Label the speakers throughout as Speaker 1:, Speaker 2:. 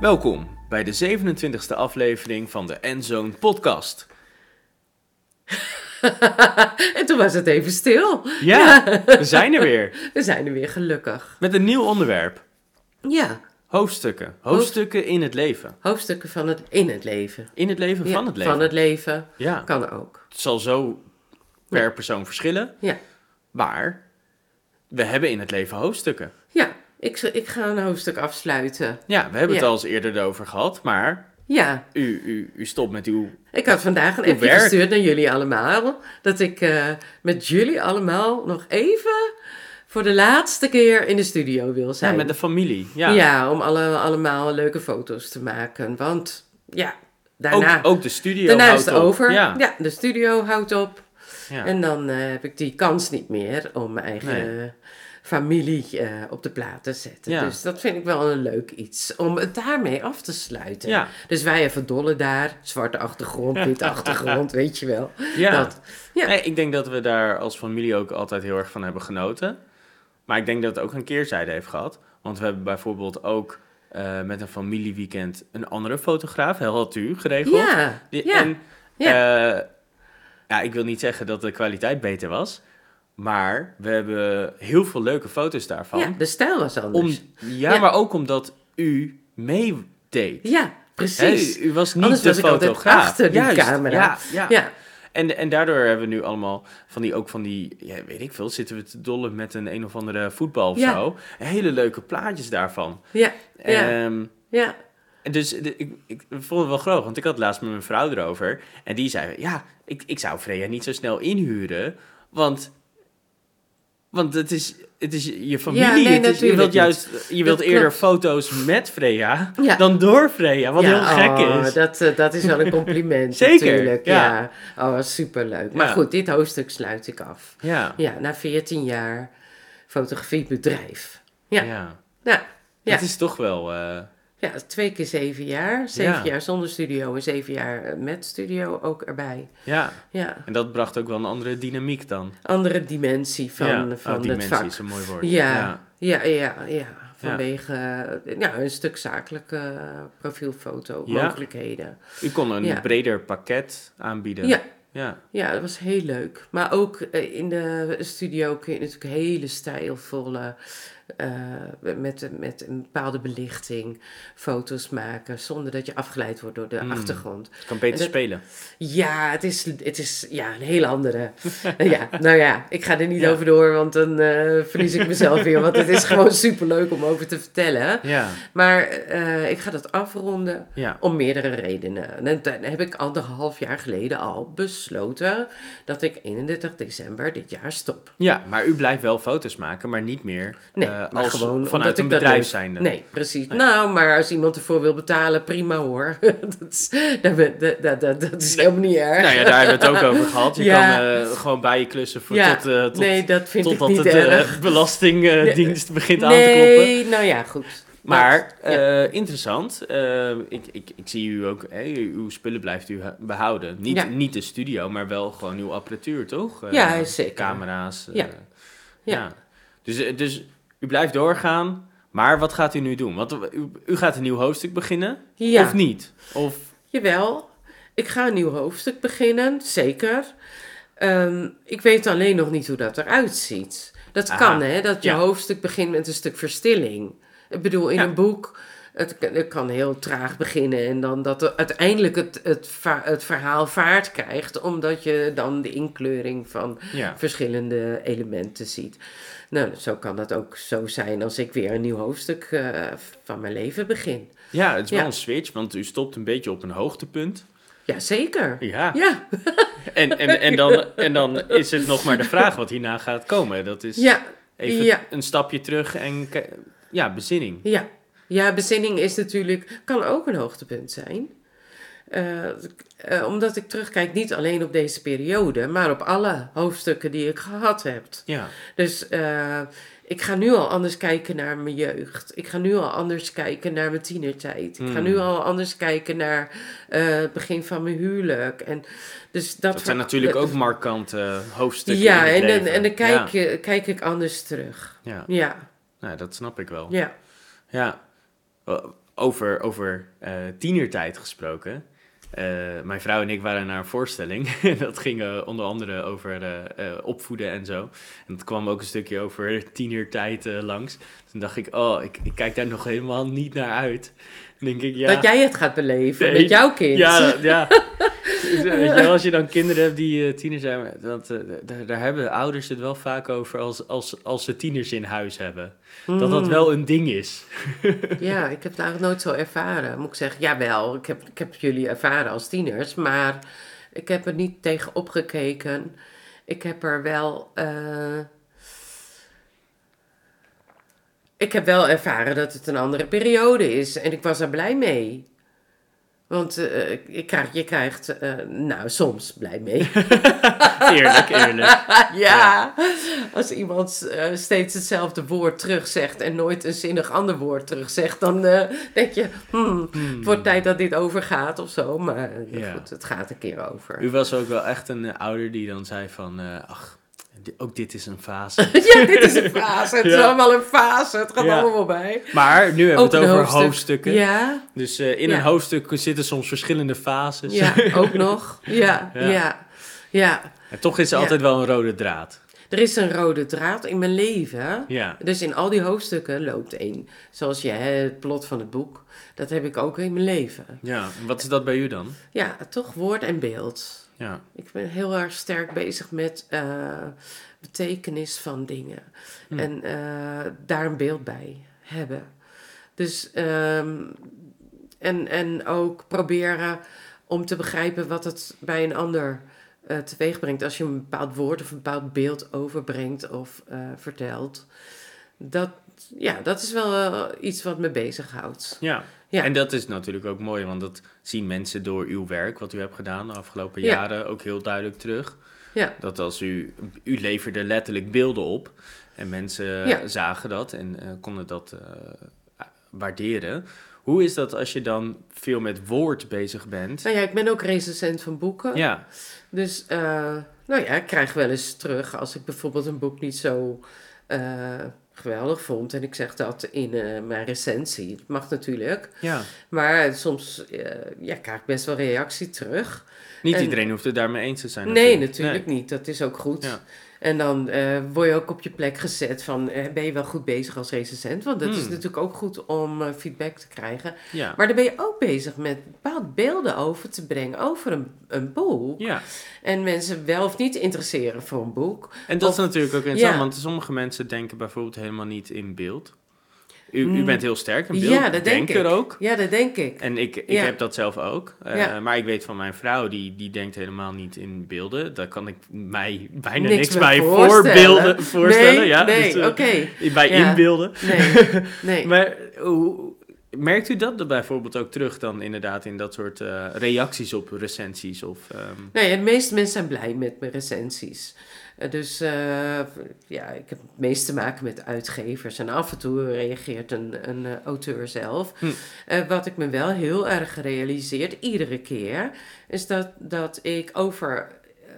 Speaker 1: Welkom bij de 27e aflevering van de Endzone podcast.
Speaker 2: En toen was het even stil.
Speaker 1: Ja, we zijn er weer.
Speaker 2: We zijn er weer gelukkig.
Speaker 1: Met een nieuw onderwerp.
Speaker 2: Ja,
Speaker 1: Hoofdstukken. Hoofdstukken in het leven.
Speaker 2: hoofdstukken van het in het leven.
Speaker 1: In het leven,
Speaker 2: Ja,
Speaker 1: van het leven.
Speaker 2: Van het leven.
Speaker 1: Ja,
Speaker 2: Kan ook.
Speaker 1: het zal zo per persoon verschillen.
Speaker 2: Ja.
Speaker 1: Maar we hebben in het leven hoofdstukken.
Speaker 2: Ja, ik, z- ik ga een hoofdstuk afsluiten.
Speaker 1: Ja, we hebben het
Speaker 2: Ja.
Speaker 1: al eens eerder over gehad, maar
Speaker 2: Ja,
Speaker 1: u, u, u stopt met uw...
Speaker 2: ik had vandaag een
Speaker 1: Hoe
Speaker 2: appje
Speaker 1: werkt-
Speaker 2: gestuurd naar jullie allemaal. Dat ik eh, met jullie allemaal nog even voor de laatste keer in de studio wil
Speaker 1: Ja,
Speaker 2: zijn.
Speaker 1: met de familie. Ja,
Speaker 2: ja. om alle, allemaal leuke foto's te maken. Want ja, daarna,
Speaker 1: Ook, ook de studio
Speaker 2: daarna is
Speaker 1: houdt
Speaker 2: het
Speaker 1: op.
Speaker 2: over.
Speaker 1: Ja,
Speaker 2: ja, de studio houdt op.
Speaker 1: ja.
Speaker 2: En dan eh, heb ik die kans niet meer om mijn eigen
Speaker 1: Nee.
Speaker 2: eh, familie eh, op de plaat te zetten.
Speaker 1: Ja.
Speaker 2: Dus dat vind ik wel een leuk iets. Om het daarmee af te sluiten.
Speaker 1: Ja.
Speaker 2: Dus wij even dollen daar. Zwarte achtergrond, witte achtergrond, weet je wel.
Speaker 1: Ja.
Speaker 2: Dat, ja.
Speaker 1: Nee, ik denk dat we daar als familie ook altijd heel erg van hebben genoten. Maar ik denk dat het ook een keerzijde heeft gehad. Want we hebben bijvoorbeeld ook eh, met een familieweekend een andere fotograaf, had u, geregeld.
Speaker 2: ja,
Speaker 1: Die-
Speaker 2: ja.
Speaker 1: En, eh, ja, ik wil niet zeggen dat de kwaliteit beter was. Maar we hebben heel veel leuke foto's daarvan.
Speaker 2: ja, de stijl was
Speaker 1: Om,
Speaker 2: anders.
Speaker 1: ja,
Speaker 2: Ja.
Speaker 1: maar ook omdat u meedeed.
Speaker 2: Ja,
Speaker 1: Hè,
Speaker 2: precies.
Speaker 1: U, u was niet
Speaker 2: Anders
Speaker 1: de
Speaker 2: was ik altijd
Speaker 1: fotograaf.
Speaker 2: achter die
Speaker 1: Juist,
Speaker 2: camera.
Speaker 1: Ja, ja.
Speaker 2: ja,
Speaker 1: En, en daardoor hebben we nu allemaal van die, ook van die, ja, weet ik veel, zitten we te dollen met een een of andere voetbal of
Speaker 2: Ja.
Speaker 1: zo. Hele leuke plaatjes daarvan.
Speaker 2: ja, ja,
Speaker 1: Ehm,
Speaker 2: ja.
Speaker 1: en dus de- ik, ik vond het wel grappig, want ik had laatst met mijn vrouw erover. En die zei, ja, ik, ik zou Freya niet zo snel inhuren, want, want het, is, het is je je familie.
Speaker 2: Ja, nee,
Speaker 1: het is- je
Speaker 2: natuurlijk
Speaker 1: wilt
Speaker 2: niet.
Speaker 1: juist, je wilt
Speaker 2: klopt.
Speaker 1: eerder foto's met Freya
Speaker 2: Ja.
Speaker 1: dan door Freya, wat
Speaker 2: Ja,
Speaker 1: heel gek
Speaker 2: oh,
Speaker 1: is.
Speaker 2: Dat, eh, dat is wel een compliment
Speaker 1: Zeker,
Speaker 2: natuurlijk.
Speaker 1: ja.
Speaker 2: Ja. Oh, superleuk. Maar
Speaker 1: Ja.
Speaker 2: goed, dit hoofdstuk sluit ik af.
Speaker 1: Ja,
Speaker 2: Ja, na 14 jaar fotografiebedrijf.
Speaker 1: ja.
Speaker 2: Ja. Nou, Ja.
Speaker 1: Het is toch wel... eh,
Speaker 2: ja, twee keer zeven jaar. Zeven
Speaker 1: Ja.
Speaker 2: jaar zonder studio en zeven jaar eh, met studio ook erbij.
Speaker 1: ja.
Speaker 2: Ja,
Speaker 1: En dat bracht ook wel een andere dynamiek dan.
Speaker 2: andere dimensie van, van
Speaker 1: die
Speaker 2: het vak.
Speaker 1: is een mooi woord.
Speaker 2: Ja, ja, ja, ja. Vanwege eh, ja, een stuk zakelijke eh, profielfoto
Speaker 1: Ja.
Speaker 2: mogelijkheden.
Speaker 1: U kon een
Speaker 2: Ja.
Speaker 1: breder pakket aanbieden.
Speaker 2: Ja,
Speaker 1: Ja.
Speaker 2: Ja, dat was heel leuk. Maar ook eh, in de studio kun je natuurlijk hele stijlvolle, eh, met, met een bepaalde belichting, foto's maken. Zonder dat je afgeleid wordt door de
Speaker 1: Mm.
Speaker 2: achtergrond.
Speaker 1: Het kan beter
Speaker 2: En dat-
Speaker 1: spelen.
Speaker 2: Ja, het is, het is ja, een heel andere. ja, nou ja, ik ga er niet
Speaker 1: Ja.
Speaker 2: over door, want dan eh, verlies ik mezelf weer. Want het is gewoon superleuk om over te vertellen.
Speaker 1: Ja.
Speaker 2: Maar eh, ik ga dat afronden.
Speaker 1: Ja.
Speaker 2: Om meerdere redenen. En dan heb ik anderhalf jaar geleden al besloten dat ik 31 december dit jaar stop.
Speaker 1: ja, maar u blijft wel foto's maken, maar niet meer
Speaker 2: Nee,
Speaker 1: eh,
Speaker 2: maar
Speaker 1: als
Speaker 2: gewoon
Speaker 1: vanuit
Speaker 2: omdat
Speaker 1: een
Speaker 2: ik dat
Speaker 1: bedrijf
Speaker 2: leuk-
Speaker 1: zijnde.
Speaker 2: Nee, precies. Nou, maar als iemand ervoor wil betalen, prima hoor. dat, is, dat, ben- dat, dat, dat, dat is helemaal niet erg.
Speaker 1: Nou ja, daar hebben we het ook over gehad. Je
Speaker 2: Ja.
Speaker 1: kan eh, gewoon bij je klussen voor
Speaker 2: Ja,
Speaker 1: tot, eh, tot,
Speaker 2: nee, dat vind ik
Speaker 1: totdat
Speaker 2: niet
Speaker 1: de
Speaker 2: erg.
Speaker 1: belastingdienst begint aan te kloppen.
Speaker 2: nee, nou ja, goed.
Speaker 1: Maar
Speaker 2: Dat- ja.
Speaker 1: eh, interessant, eh, ik, ik, ik zie u ook, hè, uw spullen blijft u ha- behouden. Niet,
Speaker 2: Ja.
Speaker 1: niet de studio, maar wel gewoon uw apparatuur, toch? Eh,
Speaker 2: Ja, zeker.
Speaker 1: Camera's. eh,
Speaker 2: Ja. Ja.
Speaker 1: Dus, eh, dus u blijft doorgaan, maar wat gaat u nu doen? Want u, u gaat een nieuw hoofdstuk beginnen,
Speaker 2: ja.
Speaker 1: of niet? Of,
Speaker 2: Jawel, ik ga een nieuw hoofdstuk beginnen, zeker. Ehm, ik weet alleen nog niet hoe dat eruit ziet. Dat
Speaker 1: Aha,
Speaker 2: kan, hè? Dat je
Speaker 1: ja.
Speaker 2: hoofdstuk begint met een stuk verstilling. Ik bedoel, in
Speaker 1: Ja.
Speaker 2: een boek, het, k- het kan heel traag beginnen... en dan dat er uiteindelijk het, het, va- het verhaal vaart krijgt... omdat je dan de inkleuring van
Speaker 1: ja.
Speaker 2: verschillende elementen ziet. Nou, zo kan dat ook zo zijn als ik weer een nieuw hoofdstuk eh, van mijn leven begin.
Speaker 1: ja, het is wel
Speaker 2: Ja.
Speaker 1: een switch, want u stopt een beetje op een hoogtepunt.
Speaker 2: Jazeker.
Speaker 1: Ja,
Speaker 2: Ja.
Speaker 1: En, en, en, dan, en dan is het nog maar de vraag wat hierna gaat komen. Dat is...
Speaker 2: Ja,
Speaker 1: Even
Speaker 2: Ja.
Speaker 1: een stapje terug en ki- ja, bezinning.
Speaker 2: ja. Ja, bezinning is natuurlijk, kan ook een hoogtepunt zijn. Eh, eh, eh, omdat ik terugkijk niet alleen op deze periode, maar op alle hoofdstukken die ik gehad heb.
Speaker 1: Ja,
Speaker 2: Dus eh, ik ga nu al anders kijken naar mijn jeugd. Ik ga nu al anders kijken naar mijn tienertijd. Ik ga
Speaker 1: Mm.
Speaker 2: nu al anders kijken naar eh, het begin van mijn huwelijk. En dus dat,
Speaker 1: dat zijn
Speaker 2: ver-
Speaker 1: natuurlijk
Speaker 2: dat-
Speaker 1: ook markante hoofdstukken.
Speaker 2: Ja,
Speaker 1: in het
Speaker 2: en, dan-
Speaker 1: leven.
Speaker 2: en dan kijk,
Speaker 1: Ja,
Speaker 2: je- kijk ik anders terug.
Speaker 1: ja.
Speaker 2: Ja,
Speaker 1: Nou, dat snap ik wel.
Speaker 2: ja.
Speaker 1: Ja, O- over, over eh, tienertijd gesproken. Eh, mijn vrouw en ik waren naar een voorstelling. dat ging eh, onder andere over eh, eh, opvoeden en zo. En dat kwam ook een stukje over tienertijd eh, langs. Toen dacht ik, oh, ik, ik kijk daar nog helemaal niet naar uit. Dan denk ik, ja.
Speaker 2: Dat jij het gaat beleven
Speaker 1: Nee.
Speaker 2: met jouw kind.
Speaker 1: Ja, ja. Dus, eh, Weet je wel, als je dan kinderen hebt die eh, tiener zijn, want, eh, daar, daar hebben ouders het wel vaak over als, als, als ze tieners in huis hebben. Dat dat
Speaker 2: Mm.
Speaker 1: wel een ding is.
Speaker 2: Ja, ik heb het eigenlijk nooit zo ervaren. Moet ik zeggen, jawel, ik heb, ik heb jullie ervaren als tieners, maar ik heb er niet tegen opgekeken. Ik heb er wel. eh, ik heb wel ervaren dat het een andere periode is en ik was er blij mee. Want eh, ik- ik krijg, je krijgt, eh, nou, soms blij mee.
Speaker 1: Eerlijk, eerlijk.
Speaker 2: ja.
Speaker 1: Ja.
Speaker 2: als iemand eh, steeds hetzelfde woord terugzegt en nooit een zinnig ander woord terugzegt, dan eh, denk je, hmm, het wordt tijd dat dit overgaat of zo. Maar eh,
Speaker 1: Ja.
Speaker 2: goed, het gaat een keer over.
Speaker 1: U was ook wel echt een eh, ouder die dan zei van... eh, ach, di- ook dit is een fase.
Speaker 2: ja, dit is een fase. Het is
Speaker 1: Ja.
Speaker 2: allemaal een fase. Het gaat
Speaker 1: Ja.
Speaker 2: allemaal bij.
Speaker 1: Maar nu hebben we
Speaker 2: een
Speaker 1: het over
Speaker 2: hoofdstuk.
Speaker 1: hoofdstukken.
Speaker 2: Ja,
Speaker 1: Dus eh, in
Speaker 2: Ja.
Speaker 1: een hoofdstuk zitten soms verschillende fases.
Speaker 2: ja, ook nog. Ja,
Speaker 1: Dus- Ja.
Speaker 2: ja, ja.
Speaker 1: En toch is er
Speaker 2: Ja.
Speaker 1: altijd wel een rode draad.
Speaker 2: Er is een rode draad in mijn leven.
Speaker 1: Ja,
Speaker 2: Dus in al die hoofdstukken loopt één. Zoals je, hè, het plot van het boek. Dat heb ik ook in mijn leven.
Speaker 1: ja. En wat is dat bij u dan?
Speaker 2: Ja, toch woord en beeld.
Speaker 1: Ja,
Speaker 2: Ik ben heel erg sterk bezig met eh, betekenis van dingen.
Speaker 1: Hmm.
Speaker 2: En eh, daar een beeld bij hebben. Dus, ehm, en, en ook proberen om te begrijpen wat het bij een ander eh teweeg brengt. Als je een bepaald woord of een bepaald beeld overbrengt of eh, vertelt. Dat, ja, dat is wel eh, iets wat me bezighoudt.
Speaker 1: ja.
Speaker 2: Ja.
Speaker 1: En dat is natuurlijk ook mooi, want dat zien mensen door uw werk, wat u hebt gedaan de afgelopen
Speaker 2: Ja.
Speaker 1: jaren, ook heel duidelijk terug.
Speaker 2: Ja.
Speaker 1: Dat als u, u leverde letterlijk beelden op en mensen eh,
Speaker 2: Ja.
Speaker 1: zagen dat en eh, konden dat eh, waarderen. Hoe is dat als je dan veel met woord bezig bent?
Speaker 2: Nou ja, ik ben ook recensent van boeken.
Speaker 1: Ja,
Speaker 2: Dus, eh, nou ja, ik krijg wel eens terug als ik bijvoorbeeld een boek niet zo eh, geweldig vond. En ik zeg dat in eh, mijn recensie. Dat mag natuurlijk.
Speaker 1: ja.
Speaker 2: Maar soms eh, ja, krijg ik best wel reactie terug.
Speaker 1: Niet
Speaker 2: En-
Speaker 1: iedereen hoeft het daarmee eens te zijn.
Speaker 2: nee, natuurlijk niet. Dat is ook goed.
Speaker 1: Ja.
Speaker 2: En dan eh, word je ook op je plek gezet van eh, ben je wel goed bezig als recensent? Want dat is
Speaker 1: Hmm.
Speaker 2: natuurlijk ook goed om eh, feedback te krijgen.
Speaker 1: Nee. Ja.
Speaker 2: Maar dan ben je ook bezig met bepaalde beelden over te brengen over een, een boek.
Speaker 1: ja,
Speaker 2: En mensen wel of niet interesseren voor een boek.
Speaker 1: en dat
Speaker 2: Of-
Speaker 1: is natuurlijk ook interessant,
Speaker 2: ja.
Speaker 1: want sommige mensen denken bijvoorbeeld helemaal niet in beeld. U, u
Speaker 2: Mm.
Speaker 1: bent heel sterk in beeld,
Speaker 2: Ja, dat denk
Speaker 1: er
Speaker 2: ik.
Speaker 1: ook.
Speaker 2: Ja, dat denk ik.
Speaker 1: En ik, ik
Speaker 2: Ja.
Speaker 1: heb dat zelf ook. Eh,
Speaker 2: Ja.
Speaker 1: Maar ik weet van mijn vrouw, die, die denkt helemaal niet in beelden. Daar kan ik mij bijna niks,
Speaker 2: Niks meer
Speaker 1: bij
Speaker 2: voorstellen.
Speaker 1: voorbeelden, voorstellen.
Speaker 2: nee,
Speaker 1: ja,
Speaker 2: nee,
Speaker 1: Dus, eh,
Speaker 2: oké.
Speaker 1: Bij
Speaker 2: Ja.
Speaker 1: inbeelden.
Speaker 2: Nee, nee.
Speaker 1: Maar hoe, merkt u dat er bijvoorbeeld ook terug dan inderdaad in dat soort eh, reacties op recensies? Of, ehm,
Speaker 2: nee, de meeste mensen zijn blij met mijn recensies. Eh, Dus eh, ja, ik heb het meest te maken met uitgevers. En af en toe reageert een, een eh, auteur zelf.
Speaker 1: Hm.
Speaker 2: Eh, wat ik me wel heel erg realiseert, iedere keer, is dat, dat ik over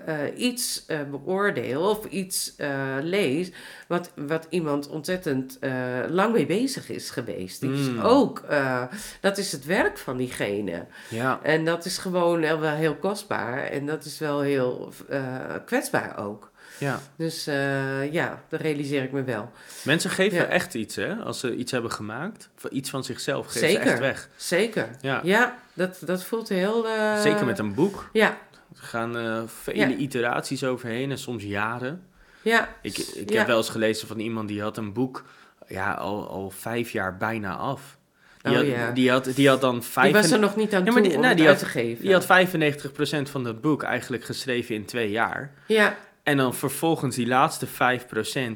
Speaker 2: eh, iets eh, beoordeel of iets eh, lees wat, wat iemand ontzettend eh, lang mee bezig is geweest. Dus
Speaker 1: Mm.
Speaker 2: ook, eh, dat is het werk van diegene.
Speaker 1: ja.
Speaker 2: En dat is gewoon eh, wel heel kostbaar en dat is wel heel eh, kwetsbaar ook.
Speaker 1: ja,
Speaker 2: Dus eh, ja, dat realiseer ik me wel.
Speaker 1: mensen geven
Speaker 2: Ja.
Speaker 1: echt iets, hè? Als ze iets hebben gemaakt, van iets van zichzelf, geven
Speaker 2: Zeker.
Speaker 1: ze echt weg.
Speaker 2: Zeker.
Speaker 1: Ja.
Speaker 2: Ja, dat, dat voelt heel... eh,
Speaker 1: Zeker met een boek.
Speaker 2: Ja,
Speaker 1: Er gaan eh, vele
Speaker 2: Ja.
Speaker 1: iteraties overheen en soms jaren.
Speaker 2: ja.
Speaker 1: Ik, ik
Speaker 2: Ja.
Speaker 1: heb wel eens gelezen van iemand die had een boek ja, al, al vijf jaar bijna af. Die,
Speaker 2: Oh,
Speaker 1: had,
Speaker 2: ja.
Speaker 1: die, had, die had dan
Speaker 2: Die
Speaker 1: vijf,
Speaker 2: was er nog niet aan
Speaker 1: Ja, maar
Speaker 2: toe
Speaker 1: die-
Speaker 2: om
Speaker 1: nou,
Speaker 2: het
Speaker 1: die
Speaker 2: uit
Speaker 1: had-
Speaker 2: te geven.
Speaker 1: die had 95% van dat boek eigenlijk geschreven in twee jaar.
Speaker 2: ja,
Speaker 1: En dan vervolgens die laatste 5%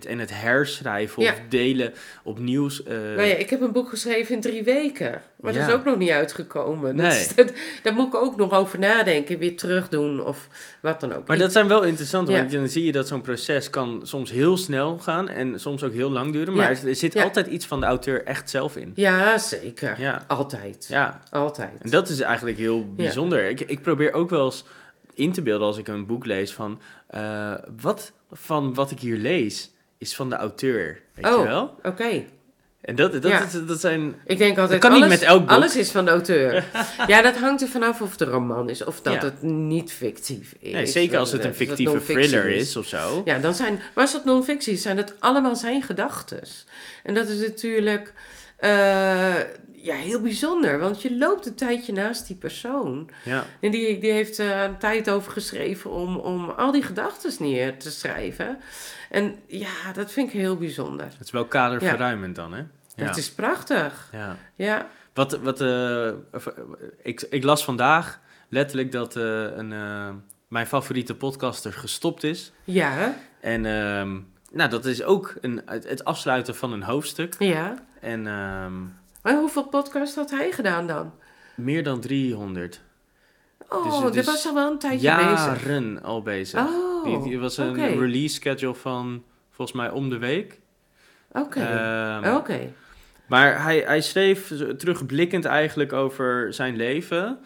Speaker 1: en het herschrijven
Speaker 2: Ja.
Speaker 1: of delen opnieuw. eh,
Speaker 2: Nou ja, ik heb een boek geschreven in drie weken. Maar dat
Speaker 1: Ja.
Speaker 2: is ook nog niet uitgekomen. Dat
Speaker 1: Nee.
Speaker 2: is- dat- daar moet ik ook nog over nadenken. Weer terugdoen of wat dan ook.
Speaker 1: Maar
Speaker 2: Ik-
Speaker 1: dat zijn wel interessante,
Speaker 2: Ja.
Speaker 1: want dan zie je dat zo'n proces kan soms heel snel gaan en soms ook heel lang duren.
Speaker 2: Ja.
Speaker 1: Maar er zit
Speaker 2: Ja.
Speaker 1: altijd iets van de auteur echt zelf in.
Speaker 2: Ja, zeker.
Speaker 1: Ja.
Speaker 2: Altijd.
Speaker 1: Ja,
Speaker 2: Altijd.
Speaker 1: en dat is eigenlijk heel bijzonder. Ik, ik probeer ook wel eens in te beelden als ik een boek lees van... eh, wat van wat ik hier lees is van de auteur, weet
Speaker 2: Oh.
Speaker 1: je wel?
Speaker 2: Oké.
Speaker 1: En dat, dat,
Speaker 2: Ja.
Speaker 1: is- dat, zijn...
Speaker 2: Ik denk altijd,
Speaker 1: kan niet
Speaker 2: alles,
Speaker 1: met elk boek.
Speaker 2: alles is van de auteur. ja, dat hangt er vanaf of het een roman is of dat
Speaker 1: Ja.
Speaker 2: het niet fictief is. Eh,
Speaker 1: Nee, zeker als het
Speaker 2: Dat
Speaker 1: een fictieve
Speaker 2: non-fictie dus.
Speaker 1: thriller is of zo.
Speaker 2: Ja, dan zijn, maar als dat non-fictie is, zijn het allemaal zijn gedachten. En dat is natuurlijk eh, ja, heel bijzonder, want je loopt een tijdje naast die persoon.
Speaker 1: Ja.
Speaker 2: En die, die heeft eh een tijd over geschreven om, om al die gedachten neer te schrijven. En ja, dat vind ik heel bijzonder.
Speaker 1: Het is wel kaderverruimend dan, hè? Ja.
Speaker 2: Het is prachtig.
Speaker 1: ja.
Speaker 2: Ja,
Speaker 1: Wat, wat eh, of, eh, ik, ik las vandaag letterlijk dat eh, een, eh, mijn favoriete podcaster gestopt is.
Speaker 2: ja,
Speaker 1: En ehm, nou, dat is ook een, het, het afsluiten van een hoofdstuk.
Speaker 2: ja.
Speaker 1: En ehm,
Speaker 2: Maar Oh, hoeveel podcasts had hij gedaan dan?
Speaker 1: meer dan 300. Dus
Speaker 2: Oh,
Speaker 1: het
Speaker 2: dat
Speaker 1: is
Speaker 2: was al wel een tijdje bezig.
Speaker 1: Jaren al bezig.
Speaker 2: Oh,
Speaker 1: Die- die was een
Speaker 2: oké.
Speaker 1: release schedule van volgens mij om de week.
Speaker 2: oké. Oh.
Speaker 1: Ehm,
Speaker 2: Oké.
Speaker 1: Maar hij, hij schreef zo- terugblikkend eigenlijk over zijn leven.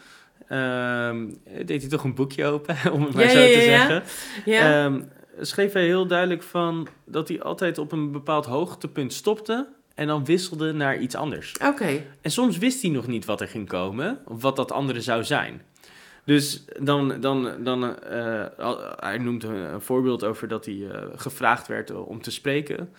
Speaker 1: Ehm, deed hij toch een boekje open, om het maar
Speaker 2: Ja,
Speaker 1: zo
Speaker 2: ja,
Speaker 1: te
Speaker 2: ja, ja.
Speaker 1: zeggen.
Speaker 2: Ja,
Speaker 1: Ehm, schreef hij heel duidelijk van dat hij altijd op een bepaald hoogtepunt stopte en dan wisselde naar iets anders.
Speaker 2: oké.
Speaker 1: En soms wist hij nog niet wat er ging komen of wat dat andere zou zijn. Dus dan, dan, dan eh, al- hij noemt een, een voorbeeld over dat hij eh, gevraagd werd om te spreken.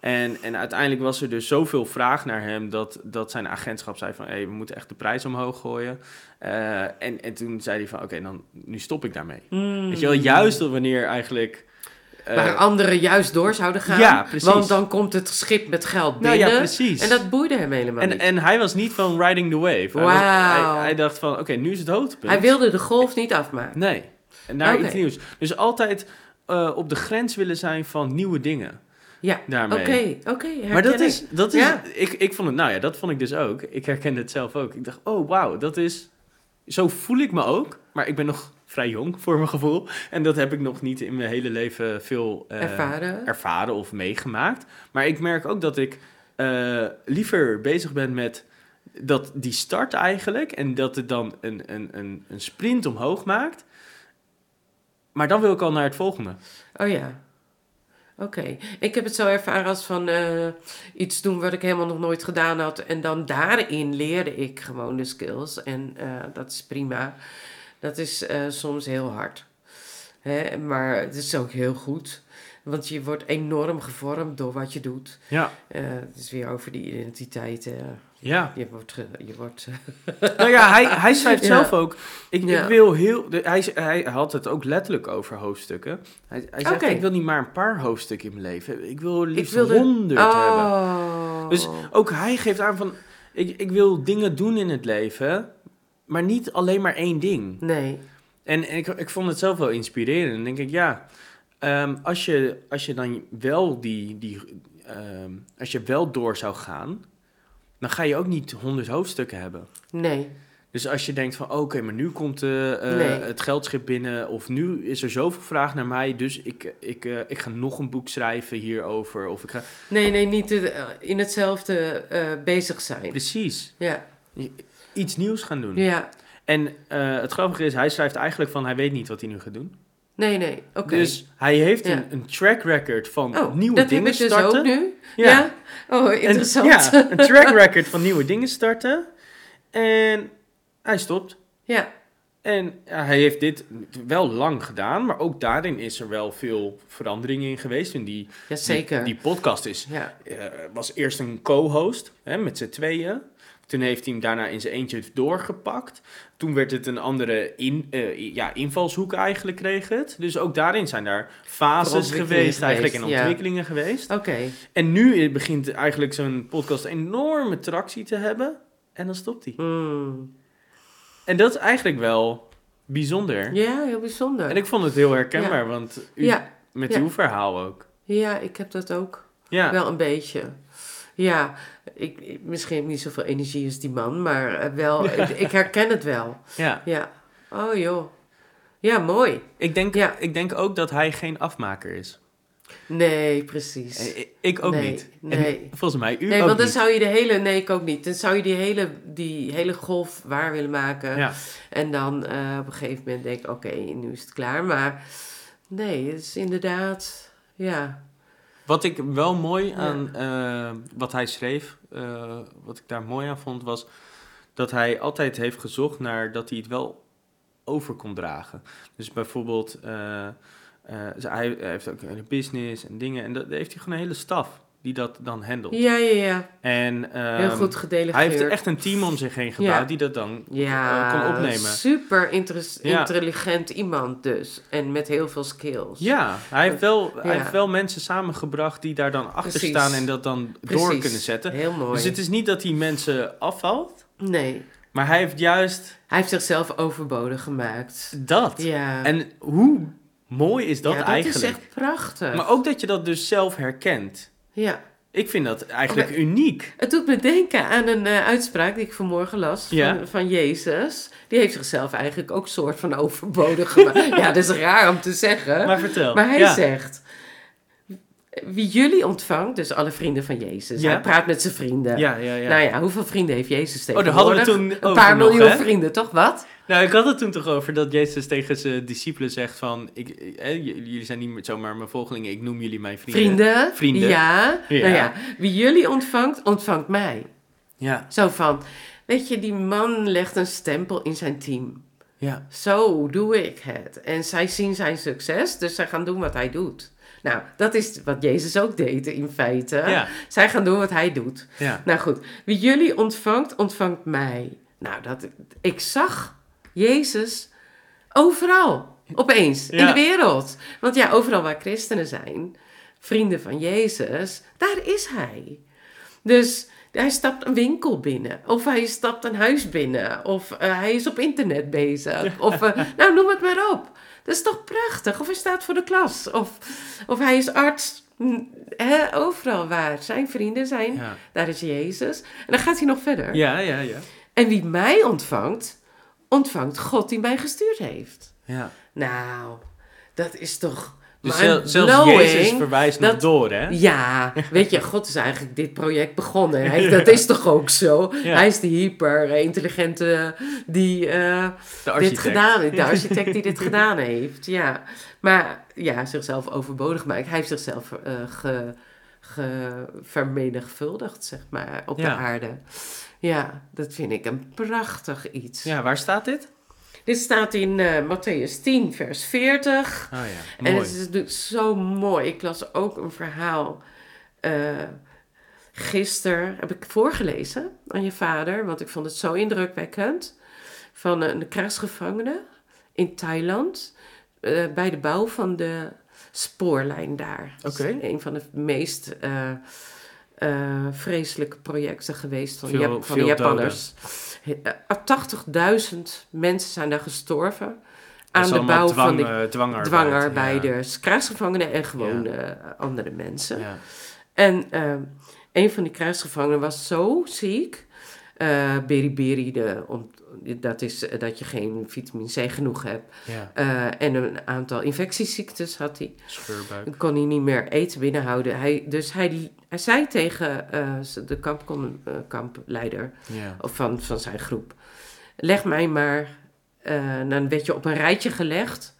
Speaker 1: En, en uiteindelijk was er dus zoveel vraag naar hem dat, dat zijn agentschap zei van... hé, hey, we moeten echt de prijs omhoog gooien. Eh, en, en toen zei hij van, oké, dan, nu stop ik daarmee.
Speaker 2: Hmm.
Speaker 1: Weet je wel, juist wanneer eigenlijk... eh,
Speaker 2: Waar anderen juist door zouden gaan.
Speaker 1: Ja, precies.
Speaker 2: Want dan komt het schip met geld
Speaker 1: nou
Speaker 2: binnen.
Speaker 1: ja, precies.
Speaker 2: En dat boeide hem helemaal
Speaker 1: en,
Speaker 2: niet.
Speaker 1: en hij was niet van riding the wave. Hij, was-
Speaker 2: Wauw.
Speaker 1: hij, hij dacht van, oké, nu is het hoogtepunt.
Speaker 2: hij wilde de golf niet afmaken.
Speaker 1: Nee, en naar
Speaker 2: Oké.
Speaker 1: iets nieuws. Dus altijd eh, op de grens willen zijn van nieuwe dingen.
Speaker 2: Ja,
Speaker 1: daarmee.
Speaker 2: Oké, oké.
Speaker 1: Maar dat
Speaker 2: herken
Speaker 1: is, dat is
Speaker 2: Ja.
Speaker 1: ik, ik vond het, nou ja, dat vond ik dus ook. Ik herkende het zelf ook. Ik dacht, oh wauw, dat is, zo voel ik me ook. Maar ik ben nog vrij jong voor mijn gevoel. En dat heb ik nog niet in mijn hele leven veel
Speaker 2: ik.
Speaker 1: eh,
Speaker 2: Ervaren.
Speaker 1: ervaren of meegemaakt. Maar ik merk ook dat ik eh, liever bezig ben met dat die start eigenlijk. En dat het dan een, een, een, een sprint omhoog maakt. Maar dan wil ik al naar het volgende.
Speaker 2: Oh ja. Oké. Ik heb het zo ervaren als van eh, iets doen wat ik helemaal nog nooit gedaan had. En dan daarin leerde ik gewoon de skills. En eh, dat is prima. Dat is eh, soms heel hard. Hè? Maar het is ook heel goed. Want je wordt enorm gevormd door wat je doet.
Speaker 1: Ja,
Speaker 2: Eh, het is weer over die identiteit. eh.
Speaker 1: ja.
Speaker 2: je wordt... ge- je wordt eh,
Speaker 1: Nou ja, hij, hij schrijft
Speaker 2: Ja.
Speaker 1: zelf ook. Ik, ik
Speaker 2: Ja.
Speaker 1: wil heel. de- hij, hij had het ook letterlijk over hoofdstukken. Hij, hij zegt:
Speaker 2: Oké.
Speaker 1: Ik wil niet maar een paar hoofdstukken in mijn leven. Ik wil liefst
Speaker 2: wil er-
Speaker 1: honderd hebben.
Speaker 2: oh.
Speaker 1: Dus ook hij geeft aan van, ik, ik wil dingen doen in het leven, maar niet alleen maar één ding.
Speaker 2: Nee.
Speaker 1: En, en ik, ik vond het zelf wel inspirerend. Dan denk ik, ja, ehm, als, je, als je dan wel die, die ehm, als je wel door zou gaan, dan ga je ook niet honderd hoofdstukken hebben.
Speaker 2: Nee.
Speaker 1: Dus als je denkt van, oké, maar nu komt eh, eh,
Speaker 2: Nee.
Speaker 1: het geldschip binnen... of nu is er zoveel vraag naar mij... dus ik, ik, eh, ik ga nog een boek schrijven hierover. Of ik ga...
Speaker 2: Nee, nee. Niet eh, in hetzelfde eh, bezig zijn.
Speaker 1: Precies,
Speaker 2: Ja.
Speaker 1: iets nieuws gaan doen.
Speaker 2: Ja.
Speaker 1: En eh, het grappige is, hij schrijft eigenlijk van hij weet niet wat hij nu gaat doen.
Speaker 2: Nee, nee, oké.
Speaker 1: Dus hij heeft een,
Speaker 2: Ja.
Speaker 1: een track record van
Speaker 2: oh,
Speaker 1: nieuwe
Speaker 2: dat
Speaker 1: dingen
Speaker 2: heb ik dus
Speaker 1: starten.
Speaker 2: ook nu?
Speaker 1: Ja.
Speaker 2: Ja. Oh, interessant.
Speaker 1: Een, ja, een track record van nieuwe dingen starten. En hij stopt.
Speaker 2: Ja.
Speaker 1: En ja, hij heeft dit wel lang gedaan, maar ook daarin is er wel veel verandering in geweest. En die,
Speaker 2: ja, zeker.
Speaker 1: die, die podcast is,
Speaker 2: Ja.
Speaker 1: eh, was eerst een co-host hè, met z'n tweeën. Toen heeft hij hem daarna in zijn eentje doorgepakt. Toen werd het een andere in, eh, ja, invalshoek eigenlijk kreeg het. Dus ook daarin zijn daar fases
Speaker 2: Ontwikkelingen
Speaker 1: geweest eigenlijk en
Speaker 2: geweest, ja.
Speaker 1: ontwikkelingen geweest.
Speaker 2: Oké,
Speaker 1: En nu begint eigenlijk zo'n podcast enorme tractie te hebben. En dan stopt hij.
Speaker 2: Hmm.
Speaker 1: En dat is eigenlijk wel bijzonder.
Speaker 2: ja, heel bijzonder.
Speaker 1: En ik vond het heel herkenbaar, want u
Speaker 2: ja,
Speaker 1: Met
Speaker 2: Ja.
Speaker 1: uw verhaal ook.
Speaker 2: Ja, ik heb dat ook.
Speaker 1: Ja,
Speaker 2: Wel een beetje. Ja, ik, ik- misschien heb ik niet zoveel energie als die man, maar eh, wel, ik, ik herken het wel.
Speaker 1: ja.
Speaker 2: Ja. Oh joh. Ja, mooi.
Speaker 1: Ik, denk,
Speaker 2: Ja.
Speaker 1: ik denk ook dat hij geen afmaker is.
Speaker 2: Nee, precies.
Speaker 1: Eh, Ik, ik ook
Speaker 2: Nee,
Speaker 1: niet. En
Speaker 2: nee.
Speaker 1: volgens mij u
Speaker 2: nee,
Speaker 1: ook
Speaker 2: want dan
Speaker 1: niet.
Speaker 2: zou je de hele... Nee, ik ook niet. Dan zou je die hele, die hele golf waar willen maken.
Speaker 1: Ja.
Speaker 2: En dan eh, op een gegeven moment denk ik, oké, nu is het klaar. Maar nee, het is inderdaad... Ja,
Speaker 1: Wat ik wel mooi aan eh, wat hij schreef, eh, wat ik daar mooi aan vond, was dat hij altijd heeft gezocht naar dat hij het wel over kon dragen. Dus bijvoorbeeld, eh, eh, ze- hij, hij heeft ook een business en dingen en dat daar heeft hij gewoon een hele staf die dat dan handelt.
Speaker 2: ja, ja, ja.
Speaker 1: En ehm,
Speaker 2: Heel goed
Speaker 1: hij
Speaker 2: gedelegeerd.
Speaker 1: heeft echt een team om zich heen gebouwd
Speaker 2: Ja.
Speaker 1: die dat dan
Speaker 2: ja,
Speaker 1: eh, kon opnemen.
Speaker 2: super interes-
Speaker 1: Ja.
Speaker 2: intelligent iemand dus. En met heel veel skills.
Speaker 1: Ja, hij heeft, wel, hij
Speaker 2: Ja.
Speaker 1: heeft wel mensen samengebracht die daar dan achter
Speaker 2: Precies.
Speaker 1: staan en dat dan door
Speaker 2: Precies.
Speaker 1: kunnen zetten.
Speaker 2: Heel mooi.
Speaker 1: Dus het is niet dat hij mensen afvalt,
Speaker 2: Nee,
Speaker 1: maar hij heeft juist
Speaker 2: hij heeft zichzelf overbodig gemaakt.
Speaker 1: dat.
Speaker 2: Ja.
Speaker 1: En hoe mooi is dat
Speaker 2: ja, dat
Speaker 1: eigenlijk?
Speaker 2: is echt prachtig.
Speaker 1: Maar ook dat je dat dus zelf herkent.
Speaker 2: Ja.
Speaker 1: Ik vind dat eigenlijk
Speaker 2: Oh,
Speaker 1: uniek.
Speaker 2: Het doet me denken aan een eh, uitspraak die ik vanmorgen las van,
Speaker 1: Ja.
Speaker 2: van Jezus. Die heeft zichzelf eigenlijk ook soort van overbodig gemaakt. ja, dat is raar om te zeggen. Maar,
Speaker 1: Maar vertel.
Speaker 2: hij
Speaker 1: ja.
Speaker 2: zegt, wie jullie ontvangt, dus alle vrienden van Jezus.
Speaker 1: Ja.
Speaker 2: Hij praat met zijn vrienden.
Speaker 1: Ja, ja, ja.
Speaker 2: Nou ja, hoeveel vrienden heeft Jezus
Speaker 1: daar hadden
Speaker 2: tegenwoordig?
Speaker 1: we toen
Speaker 2: Een
Speaker 1: over
Speaker 2: paar
Speaker 1: nog,
Speaker 2: miljoen
Speaker 1: hè?
Speaker 2: vrienden, toch wat?
Speaker 1: Nou, ik had het toen toch over dat Jezus tegen zijn discipelen zegt van... Ik, eh, j- jullie zijn niet meer zomaar mijn volgelingen, ik noem jullie mijn vrienden.
Speaker 2: Vrienden.
Speaker 1: Vrienden.
Speaker 2: Ja.
Speaker 1: Ja.
Speaker 2: Nou ja, wie jullie ontvangt, ontvangt mij.
Speaker 1: Ja,
Speaker 2: Zo van, weet je, die man legt een stempel in zijn team.
Speaker 1: ja.
Speaker 2: Zo doe ik het. En zij zien zijn succes, dus zij gaan doen wat hij doet. Nou, dat is wat Jezus ook deed in feite.
Speaker 1: Ja.
Speaker 2: Zij gaan doen wat hij doet.
Speaker 1: Ja.
Speaker 2: Nou goed, wie jullie ontvangt, ontvangt mij. Nou, dat, ik zag Jezus overal, opeens, in
Speaker 1: Ja.
Speaker 2: de wereld. Want ja, overal waar christenen zijn, vrienden van Jezus, daar is hij. Dus hij stapt een winkel binnen, of hij stapt een huis binnen, of eh, hij is op internet bezig, of eh, nou noem het maar op. Dat is toch prachtig? Of hij staat voor de klas, of, of hij is arts. Hm, hè, overal waar zijn vrienden zijn,
Speaker 1: Ja.
Speaker 2: daar is Jezus. En dan gaat hij nog verder.
Speaker 1: Ja, ja, ja.
Speaker 2: En wie mij ontvangt, ontvangt God die mij gestuurd heeft.
Speaker 1: ja.
Speaker 2: Nou, dat is toch.
Speaker 1: Dus zel- zelfs
Speaker 2: mind-blowing.
Speaker 1: Jezus verwijst nog
Speaker 2: dat-
Speaker 1: door, hè?
Speaker 2: Ja, weet je, God is eigenlijk dit project begonnen. Hij, Dat is toch ook zo?
Speaker 1: Ja.
Speaker 2: Hij is de hyper-intelligente die eh,
Speaker 1: De
Speaker 2: dit
Speaker 1: architect.
Speaker 2: gedaan heeft. De architect die dit gedaan heeft, ja. Maar ja, zichzelf overbodig maakt. Hij heeft zichzelf eh ge, ge- vermenigvuldigd, zeg maar, op de
Speaker 1: Ja.
Speaker 2: aarde. Ja, dat vind ik een prachtig iets.
Speaker 1: Ja, waar staat dit?
Speaker 2: Dit staat in eh, Matthäus 10, vers 40.
Speaker 1: Oh ja,
Speaker 2: En
Speaker 1: mooi.
Speaker 2: het is natuurlijk zo mooi. Ik las ook een verhaal eh gisteren, heb ik voorgelezen aan je vader, want ik vond het zo indrukwekkend, van een krijgsgevangene in Thailand eh, bij de bouw van de spoorlijn daar. Dat is
Speaker 1: Oké.
Speaker 2: Een van de meest eh, eh, vreselijke projecten geweest van,
Speaker 1: Veel-
Speaker 2: Jap- van de
Speaker 1: veel
Speaker 2: Japanners. He- eh, 80.000 mensen zijn daar gestorven
Speaker 1: Dat
Speaker 2: aan
Speaker 1: is
Speaker 2: de
Speaker 1: allemaal
Speaker 2: bouw van
Speaker 1: dwang,
Speaker 2: de
Speaker 1: eh, dwangarbeid.
Speaker 2: dwangarbeiders, krijgsgevangenen en gewoon eh, andere
Speaker 1: Ja.
Speaker 2: mensen.
Speaker 1: Ja.
Speaker 2: En eh, een van die krijgsgevangenen was zo ziek. eh beriberi, de, ont- dat is eh, dat je geen vitamine C genoeg hebt.
Speaker 1: ja.
Speaker 2: Eh, en een aantal infectieziektes had hij.
Speaker 1: Scheurbuik.
Speaker 2: Dan kon hij niet meer eten binnenhouden. Hij, dus hij, hij zei tegen eh, de kampkon- eh, kampleider
Speaker 1: Ja.
Speaker 2: of van, van zijn groep. Leg mij maar, eh dan werd je op een rijtje gelegd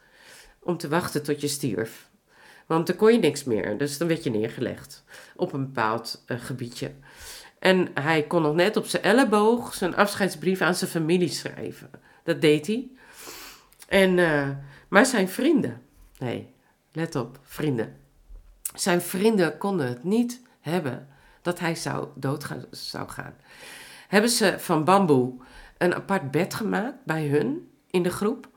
Speaker 2: om te wachten tot je stierf. Want dan kon je niks meer, dus dan werd je neergelegd op een bepaald eh, gebiedje. En hij kon nog net op zijn elleboog zijn afscheidsbrief aan zijn familie schrijven. Dat deed hij. En, eh, maar zijn vrienden, nee, let op, vrienden. Zijn vrienden konden het niet hebben dat hij zou dood gaan, zou gaan hebben ze van bamboe een apart bed gemaakt bij hun in de groep.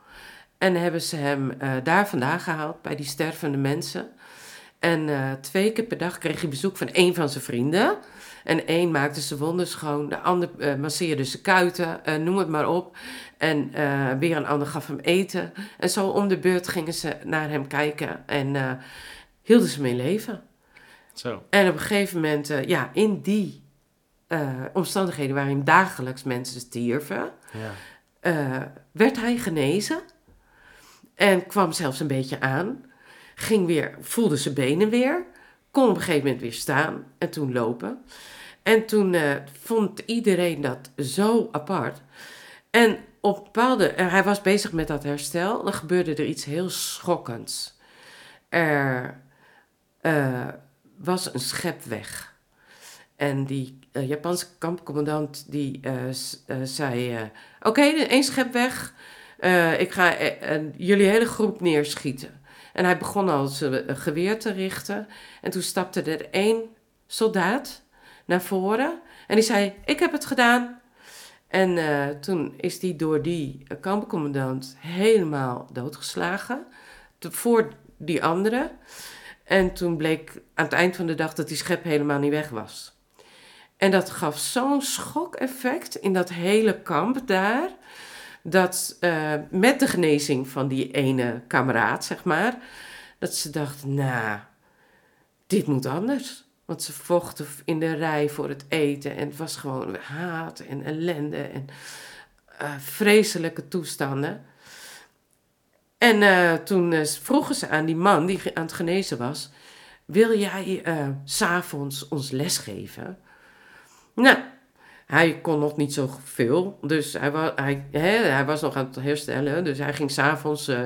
Speaker 2: En hebben ze hem eh, daar vandaan gehaald bij die stervende mensen. En eh, twee keer per dag kreeg hij bezoek van één van zijn vrienden. En één maakte zijn wonden schoon, de ander eh, masseerde zijn kuiten, eh, noem het maar op. En eh, weer een ander gaf hem eten. En zo om de beurt gingen ze naar hem kijken en eh, hielden ze hem in leven.
Speaker 3: Zo.
Speaker 2: En op een gegeven moment, eh, ja, in die eh, omstandigheden waarin dagelijks mensen dus stierven,
Speaker 3: Ja.
Speaker 2: eh, werd hij genezen. En kwam zelfs een beetje aan. Ging weer, voelde zijn benen weer. Kon op een gegeven moment weer staan en toen lopen. En toen eh, vond iedereen dat zo apart. En op een bepaalde, eh, hij was bezig met dat herstel. Dan gebeurde er iets heel schokkends. Er eh, was een schep weg. En die eh, Japanse kampcommandant die eh, s- eh, zei... eh, Oké, de- één schep weg. Eh, ik ga eh, eh, jullie hele groep neerschieten. En hij begon al zijn eh, geweer te richten. En toen stapte er één soldaat naar voren. En die zei, ik heb het gedaan. En eh, toen is die door die eh, kampcommandant helemaal doodgeslagen. Te- voor die andere. En toen bleek aan het eind van de dag dat die schep helemaal niet weg was. En dat gaf zo'n schok-effect in dat hele kamp daar. Dat eh, met de genezing van die ene kameraad, zeg maar. Dat ze dacht, nou, dit moet anders. Want ze vochten in de rij voor het eten. En het was gewoon haat en ellende en eh, vreselijke toestanden. En eh, toen eh, vroegen ze aan die man die ge- aan het genezen was... wil jij eh, s s'avonds ons les geven? Nou, hij kon nog niet zo veel. Dus hij, wa hij, hè, hij was nog aan het herstellen. Dus hij ging s'avonds eh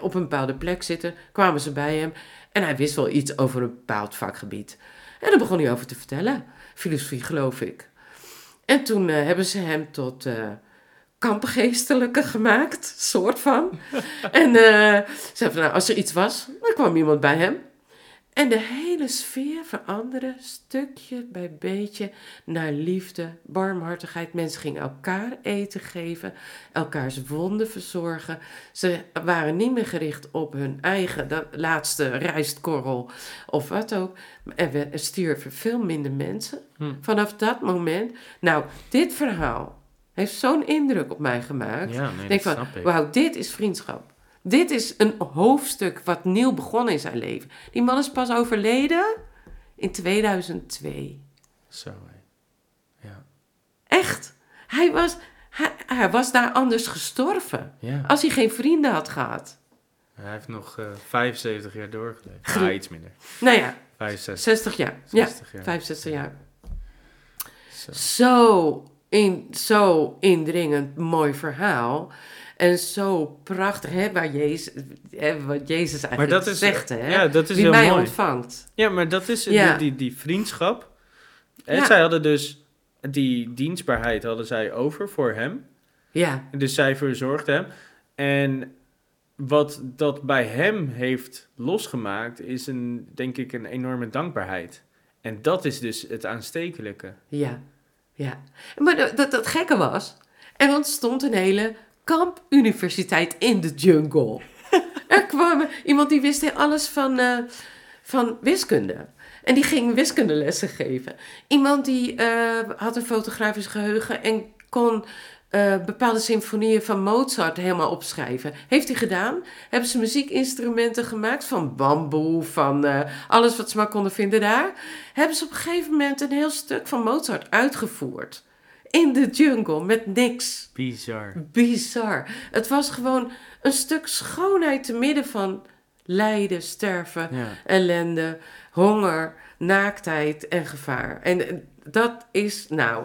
Speaker 2: op een bepaalde plek zitten. Kwamen ze bij hem. En hij wist wel iets over een bepaald vakgebied. En daar begon hij over te vertellen. Filosofie, geloof ik. En toen eh, hebben ze hem tot eh kampgeestelijke gemaakt, soort van. en eh, ze hebben, nou, als er iets was, dan kwam iemand bij hem. En de hele sfeer veranderde stukje bij beetje naar liefde, barmhartigheid. Mensen gingen elkaar eten geven, elkaars wonden verzorgen. Ze waren niet meer gericht op hun eigen dat laatste rijstkorrel of wat ook. Er, we- er stierven veel minder mensen
Speaker 3: Hm.
Speaker 2: vanaf dat moment. Nou, dit verhaal heeft zo'n indruk op mij gemaakt.
Speaker 3: Ja, nee,
Speaker 2: denk
Speaker 3: dat
Speaker 2: van,
Speaker 3: snap ik.
Speaker 2: wauw, dit is vriendschap. Dit is een hoofdstuk wat nieuw begonnen in zijn leven. Die man is pas overleden in 2002.
Speaker 3: Zo. hé. Ja.
Speaker 2: Echt. Hij was, hij, hij was daar anders gestorven.
Speaker 3: Ja.
Speaker 2: Als hij geen vrienden had gehad.
Speaker 3: Hij heeft nog eh 75 jaar doorgeleefd.
Speaker 1: Ah, iets minder.
Speaker 2: Nou ja,
Speaker 3: 65
Speaker 2: 60 jaar. Ja,
Speaker 3: 60 jaar.
Speaker 2: 65 jaar.
Speaker 3: Zo.
Speaker 2: Zo, in, zo indringend mooi verhaal. En zo prachtig, hè, waar Jezus, hè, wat Jezus eigenlijk
Speaker 3: Maar dat is,
Speaker 2: zegt. Hè?
Speaker 3: ja, dat is
Speaker 2: Wie
Speaker 3: heel
Speaker 2: mij
Speaker 3: mooi.
Speaker 2: ontvangt.
Speaker 3: Ja, maar dat is
Speaker 2: Ja.
Speaker 3: die, die, die vriendschap. En
Speaker 2: Ja.
Speaker 3: zij hadden dus die dienstbaarheid hadden zij over voor hem.
Speaker 2: Ja,
Speaker 3: Dus zij verzorgde hem. En wat dat bij hem heeft losgemaakt, is een, denk ik een enorme dankbaarheid. En dat is dus het aanstekelijke.
Speaker 2: ja, ja. Maar dat, dat, dat gekke was, er ontstond een hele kampuniversiteit in de jungle. er kwam iemand die wist heel alles van, eh, van wiskunde. En die ging wiskundelessen geven. Iemand die eh, had een fotografisch geheugen en kon eh, bepaalde symfonieën van Mozart helemaal opschrijven. Heeft hij gedaan? Hebben ze muziekinstrumenten gemaakt van bamboe, van eh, alles wat ze maar konden vinden daar. Hebben ze op een gegeven moment een heel stuk van Mozart uitgevoerd. In de jungle met niks.
Speaker 3: Bizar.
Speaker 2: Bizar. Het was gewoon een stuk schoonheid te midden van lijden, sterven,
Speaker 3: Ja.
Speaker 2: ellende, honger, naaktheid en gevaar. En eh, dat is nou,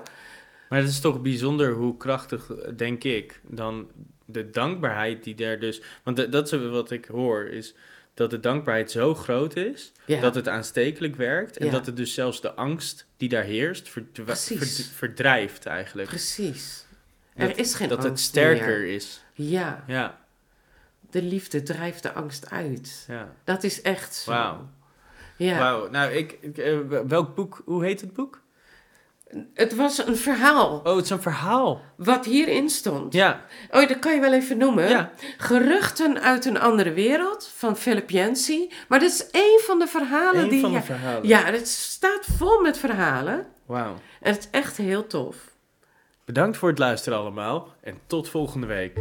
Speaker 3: Maar het is toch bijzonder hoe krachtig, denk ik, dan de dankbaarheid die daar dus. Want de- dat is wat ik hoor, is dat de dankbaarheid zo groot is.
Speaker 2: ja,
Speaker 3: Dat het aanstekelijk werkt. En
Speaker 2: Ja.
Speaker 3: dat het dus zelfs de angst die daar heerst verdwa-
Speaker 2: Precies.
Speaker 3: verd- verdrijft eigenlijk.
Speaker 2: precies.
Speaker 3: Dat-
Speaker 2: er is geen
Speaker 3: dat
Speaker 2: angst
Speaker 3: het sterker
Speaker 2: meer.
Speaker 3: is.
Speaker 2: Ja,
Speaker 3: Ja,
Speaker 2: de liefde drijft de angst uit.
Speaker 3: ja.
Speaker 2: Dat is echt zo.
Speaker 3: Wauw.
Speaker 2: Ja.
Speaker 3: Wauw. Nou, ik, ik, eh, welk boek? Hoe heet het boek?
Speaker 2: Het was een verhaal
Speaker 3: Oh, het is een verhaal.
Speaker 2: wat hierin stond.
Speaker 3: Ja,
Speaker 2: Oh, dat kan je wel even noemen.
Speaker 3: ja.
Speaker 2: Geruchten uit een andere wereld van Philip Jensi. Maar dat is één van de verhalen
Speaker 3: Een
Speaker 2: die.
Speaker 3: van de
Speaker 2: ja,
Speaker 3: verhalen.
Speaker 2: ja, het staat vol met verhalen.
Speaker 1: Wauw.
Speaker 2: En het is echt heel tof.
Speaker 1: Bedankt voor het luisteren allemaal en tot volgende week.